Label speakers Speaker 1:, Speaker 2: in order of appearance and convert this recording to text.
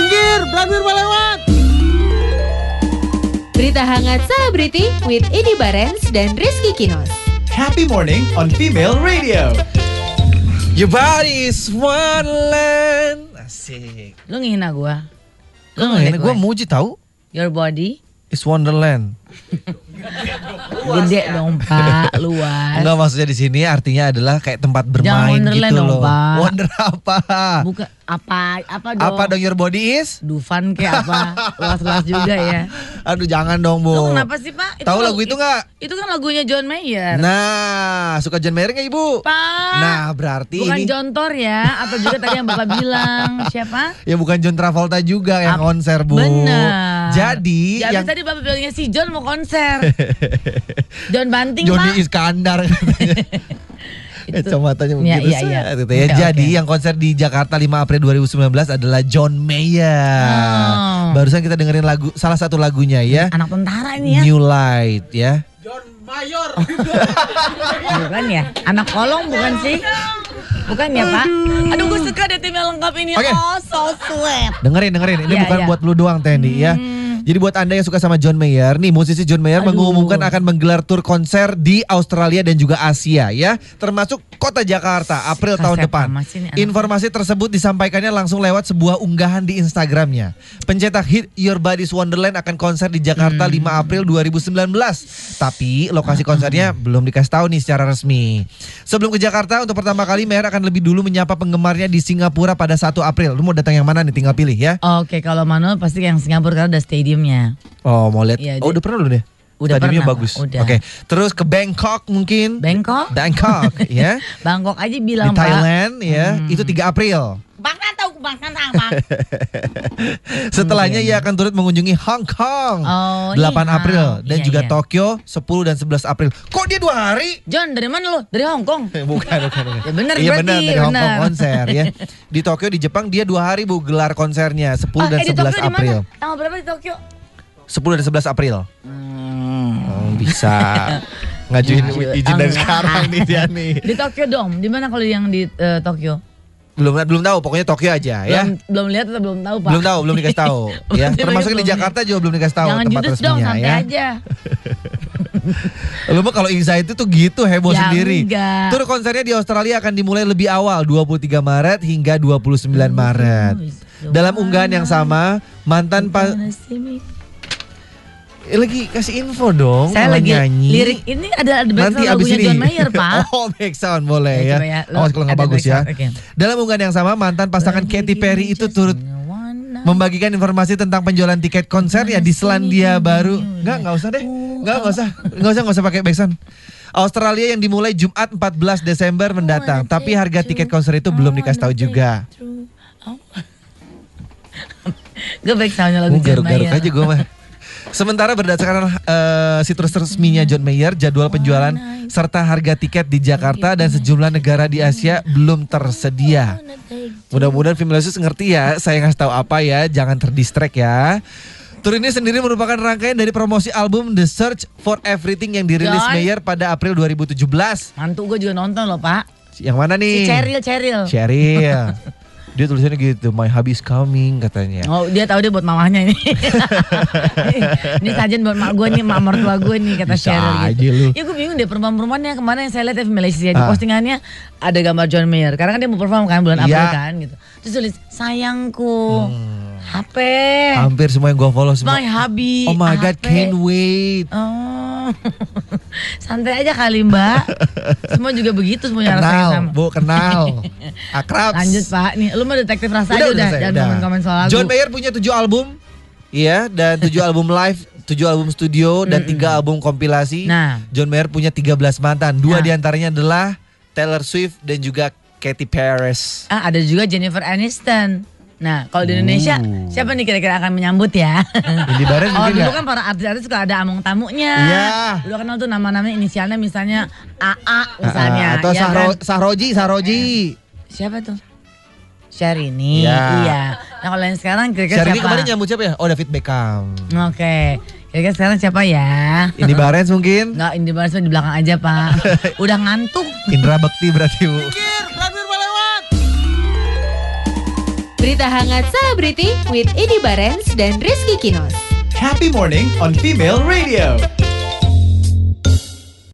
Speaker 1: Branwir melewat.
Speaker 2: Berita hangat selebriti with Edi Barens dan Rizky Kinos.
Speaker 3: Happy morning on Female Radio.
Speaker 4: Your body is wonderland. Asik.
Speaker 5: Lu ngehina gua. Lu
Speaker 4: Nah, Ini
Speaker 5: ngehina
Speaker 4: gue
Speaker 5: gua.
Speaker 4: muji tahu.
Speaker 5: Your body
Speaker 4: Is Wonderland.
Speaker 5: gede dong, Pak. Luas.
Speaker 4: Enggak maksudnya di sini artinya adalah kayak tempat bermain
Speaker 5: Wonderland
Speaker 4: gitu
Speaker 5: dong,
Speaker 4: loh.
Speaker 5: Pak.
Speaker 4: Wonder apa?
Speaker 5: Bukan apa apa dong?
Speaker 4: Apa dong your body is?
Speaker 5: Dufan kayak apa? Luas-luas juga ya.
Speaker 4: Aduh jangan dong, Bu.
Speaker 5: Lu kenapa sih, Pak?
Speaker 4: Oh. Tahu
Speaker 5: kan-
Speaker 4: lagu itu nggak?
Speaker 5: Itu kan lagunya John Mayer.
Speaker 4: Nah, suka John Mayer nggak, Ibu?
Speaker 5: Pak.
Speaker 4: Nah, berarti
Speaker 5: Bukan
Speaker 4: ini
Speaker 5: jontor ya, atau juga tadi yang Bapak bilang siapa?
Speaker 4: ya bukan John Travolta juga
Speaker 5: Ap-
Speaker 4: yang konser, Bu.
Speaker 5: Benar.
Speaker 4: Jadi
Speaker 5: ya,
Speaker 4: yang
Speaker 5: yang... tadi Bapak bilangnya si John mau konser. John Banting,
Speaker 4: Johnny eh,
Speaker 5: Pak.
Speaker 4: Iskandar katanya. Kacamatanya
Speaker 5: Iya,
Speaker 4: begitu
Speaker 5: iya, iya.
Speaker 4: set, gitu ya.
Speaker 5: Oke,
Speaker 4: Jadi
Speaker 5: oke.
Speaker 4: yang konser di Jakarta 5 April 2019 adalah John Mayer.
Speaker 5: Oh.
Speaker 4: Barusan kita dengerin lagu salah satu lagunya ya.
Speaker 5: Anak tentara ini ya.
Speaker 4: New Light ya.
Speaker 1: John Mayor.
Speaker 5: Bukan ya? Anak kolong bukan sih? Bukan ya, Pak? Aduh, gue suka deh tim yang lengkap ini.
Speaker 4: Oke.
Speaker 5: Oh, so sweet.
Speaker 4: Dengerin, dengerin. Ini
Speaker 5: Iya,
Speaker 4: bukan
Speaker 5: iya.
Speaker 4: buat lu doang Tendi ya. Jadi buat Anda yang suka sama John Mayer, nih musisi John Mayer
Speaker 5: Hmm. Aduh.
Speaker 4: mengumumkan akan menggelar tur konser di Australia dan juga Asia ya, termasuk kota Jakarta April tahun
Speaker 5: Kasep
Speaker 4: depan.
Speaker 5: amat sih nih anak.
Speaker 4: Informasi tersebut disampaikannya langsung lewat sebuah unggahan di Instagramnya. Pencetak hit Your Body's Wonderland akan konser di Jakarta
Speaker 5: Hmm.
Speaker 4: 5 April 2019. Tapi
Speaker 5: Ah,
Speaker 4: lokasi konsernya belum dikasih tahu nih secara resmi. Sebelum ke Jakarta untuk pertama kali Mayer akan lebih dulu menyapa penggemarnya di Singapura pada 1 April. Lu mau datang yang mana nih tinggal pilih ya.
Speaker 5: Oke, kalau Manuel pasti yang Singapura karena ada stadiumnya.
Speaker 4: Oh, mau lihat.
Speaker 5: Iya,
Speaker 4: oh,
Speaker 5: jadi-
Speaker 4: udah pernah lu deh.
Speaker 5: Udah
Speaker 4: Stadiumnya
Speaker 5: pernah,
Speaker 4: bagus.
Speaker 5: Pak. Udah.
Speaker 4: Oke. Terus ke Bangkok mungkin.
Speaker 5: Bangkok?
Speaker 4: Bangkok ya.
Speaker 5: Bangkok aja
Speaker 4: Di
Speaker 5: bilang, Pak.
Speaker 4: Thailand ya.
Speaker 5: Hmm.
Speaker 4: Itu 3 April.
Speaker 5: Bang tahu Bang Nantang, Pak.
Speaker 4: Setelahnya ia akan turut mengunjungi Hong Kong
Speaker 5: Oh,
Speaker 4: 8
Speaker 5: iya.
Speaker 4: April dan
Speaker 5: Iya,
Speaker 4: juga
Speaker 5: iya.
Speaker 4: Tokyo 10 dan 11 April. Kok dia dua hari?
Speaker 5: John, dari mana lo? Dari Hong Kong.
Speaker 4: bukan, bukan, bukan.
Speaker 5: Ya bener
Speaker 4: iya
Speaker 5: berarti,
Speaker 4: benar dari Hong Kong
Speaker 5: bener.
Speaker 4: konser ya. Di Tokyo di Jepang dia dua hari Bu gelar konsernya 10
Speaker 5: Oh,
Speaker 4: dan
Speaker 5: eh, di
Speaker 4: 11
Speaker 5: Tokyo di mana?
Speaker 4: April.
Speaker 5: Tanggal berapa di Tokyo?
Speaker 4: 10 dan 11 April.
Speaker 5: Hmm.
Speaker 4: Oh, bisa. Ah. Ngajuin
Speaker 5: Iya,
Speaker 4: izin dari
Speaker 5: enggak.
Speaker 4: sekarang nih dia nih.
Speaker 5: Di Tokyo dong. Di mana kalau yang di eh, Tokyo?
Speaker 4: Belum belum tahu, pokoknya Tokyo aja ya.
Speaker 5: Belum, belum lihat atau belum tahu, Pak?
Speaker 4: Belum tahu, belum dikasih tahu ya.
Speaker 5: Belum-
Speaker 4: Termasuk yang di
Speaker 5: belum-
Speaker 4: Jakarta juga belum dikasih tahu
Speaker 5: Jangan
Speaker 4: tempat
Speaker 5: judes
Speaker 4: resminya
Speaker 5: dong, santai
Speaker 4: ya.
Speaker 5: aja.
Speaker 4: Lu mah kalau anxiety tuh gitu heboh
Speaker 5: Ya,
Speaker 4: sendiri.
Speaker 5: enggak.
Speaker 4: Tur konsernya di Australia akan dimulai lebih awal 23 Maret hingga 29 Maret. Dalam unggahan yang sama, mantan pa-
Speaker 5: Gonna see me.
Speaker 4: Eh, lagi kasih info dong,
Speaker 5: Saya
Speaker 4: malah
Speaker 5: lagi
Speaker 4: Oh, nyanyi.
Speaker 5: lirik ini ada ada background
Speaker 4: Nanti abis
Speaker 5: lagunya
Speaker 4: ini.
Speaker 5: John Mayer, Pak.
Speaker 4: oh, back sound boleh
Speaker 5: Ya,
Speaker 4: ya.
Speaker 5: coba ya. Lo
Speaker 4: Awas kalau nggak
Speaker 5: ada
Speaker 4: bagus
Speaker 5: back
Speaker 4: ya.
Speaker 5: sound, oke.
Speaker 4: Dalam unggahan yang sama, mantan pasangan kan Katy Perry itu turut membagikan informasi tentang penjualan tiket konsernya di Selandia Baru. Nggak, nggak usah deh. Nggak, nggak usah. Nggak usah, nggak usah pakai backsound. Australia yang dimulai Jumat 14 Desember mendatang, tapi harga tiket konser itu belum dikasih tahu juga.
Speaker 5: Gue back soundnya lagu
Speaker 4: Gue
Speaker 5: John
Speaker 4: Oh, garuk-garuk
Speaker 5: Mayer.
Speaker 4: aja gue mah. Sementara berdasarkan eh, situs resminya
Speaker 5: Hmm.
Speaker 4: John Mayer,
Speaker 5: Oh,
Speaker 4: jadwal penjualan serta harga tiket di
Speaker 5: gitu.
Speaker 4: Jakarta dan sejumlah negara di Asia belum tersedia.
Speaker 5: Oh,
Speaker 4: Mudah-mudahan Fimilosius ngerti ya, saya ngasih tahu apa ya, jangan terdistract ya. Tur ini sendiri merupakan rangkaian dari promosi album The Search for Everything yang dirilis
Speaker 5: John.
Speaker 4: Mayer pada April 2017.
Speaker 5: Mantu gue juga nonton loh, Pak.
Speaker 4: Yang mana
Speaker 5: Si
Speaker 4: nih?
Speaker 5: Cheryl, Cheryl.
Speaker 4: Cheryl. Dia tulisannya gitu, My Hubby is Coming katanya.
Speaker 5: Oh dia tahu dia buat mamahnya ini. ini sajen buat mak gue nih, mak mertua gue nih kata
Speaker 4: Bisa
Speaker 5: Cheryl
Speaker 4: aja
Speaker 5: gitu.
Speaker 4: lu.
Speaker 5: Ya gue bingung deh perempuan-perempuan yang kemarin yang saya lihat di Malaysia di
Speaker 4: Ah.
Speaker 5: postingannya ada gambar John Mayer. Karena kan dia mau perform kan bulan April
Speaker 4: Iya.
Speaker 5: kan gitu. Terus tulis sayangku, HP,
Speaker 4: Hampir semua yang gue follow semua.
Speaker 5: Eh. my hubby,
Speaker 4: Hmm. Oh my
Speaker 5: HP."
Speaker 4: god, can't wait.
Speaker 5: Oh, santai aja kali mbak. Semua juga begitu semuanya rasanya
Speaker 4: Kenal,
Speaker 5: sama.
Speaker 4: bu kenal. Akrab.
Speaker 5: Lanjut pak, nih lu mah detektif rasa aja udah,
Speaker 4: saya,
Speaker 5: jangan
Speaker 4: udah.
Speaker 5: komen-komen soal lagu.
Speaker 4: John Mayer punya tujuh album, iya, dan tujuh album live, tujuh album studio, dan tiga album kompilasi.
Speaker 5: Nah.
Speaker 4: John Mayer punya 13 mantan. Dua
Speaker 5: Nah.
Speaker 4: diantaranya adalah Taylor Swift dan juga Katy Perry.
Speaker 5: Ah, ada juga Jennifer Aniston. Nah, kalau di Indonesia
Speaker 4: Uh.
Speaker 5: siapa nih kira-kira akan menyambut ya?
Speaker 4: Indy Barens
Speaker 5: oh,
Speaker 4: mungkin
Speaker 5: dulu
Speaker 4: nggak?
Speaker 5: kan para artis-artis suka ada among tamunya.
Speaker 4: Iya.
Speaker 5: Dulu kenal tuh nama-nama inisialnya misalnya AA misalnya.
Speaker 4: Ah, atau
Speaker 5: ya
Speaker 4: Sahro,
Speaker 5: kan?
Speaker 4: Sahroji, Sahroji.
Speaker 5: Siapa tuh? Syahrini.
Speaker 4: Iya.
Speaker 5: Iya. Nah, kalau yang sekarang kira-kira
Speaker 4: Syahrini
Speaker 5: siapa?
Speaker 4: kemarin nyambut siapa ya? Oh David Beckham.
Speaker 5: Oke. Kira-kira sekarang siapa ya?
Speaker 4: Ini Barens mungkin.
Speaker 5: Enggak, Indi Barens di belakang aja, Pak. Udah ngantuk.
Speaker 4: Indra Bekti berarti bu.
Speaker 1: Kir, Branwir melewat.
Speaker 2: Berita Berita hangat Selebriti with Edi Barens dan Rizky Kinos.
Speaker 3: Happy Morning on Female Radio.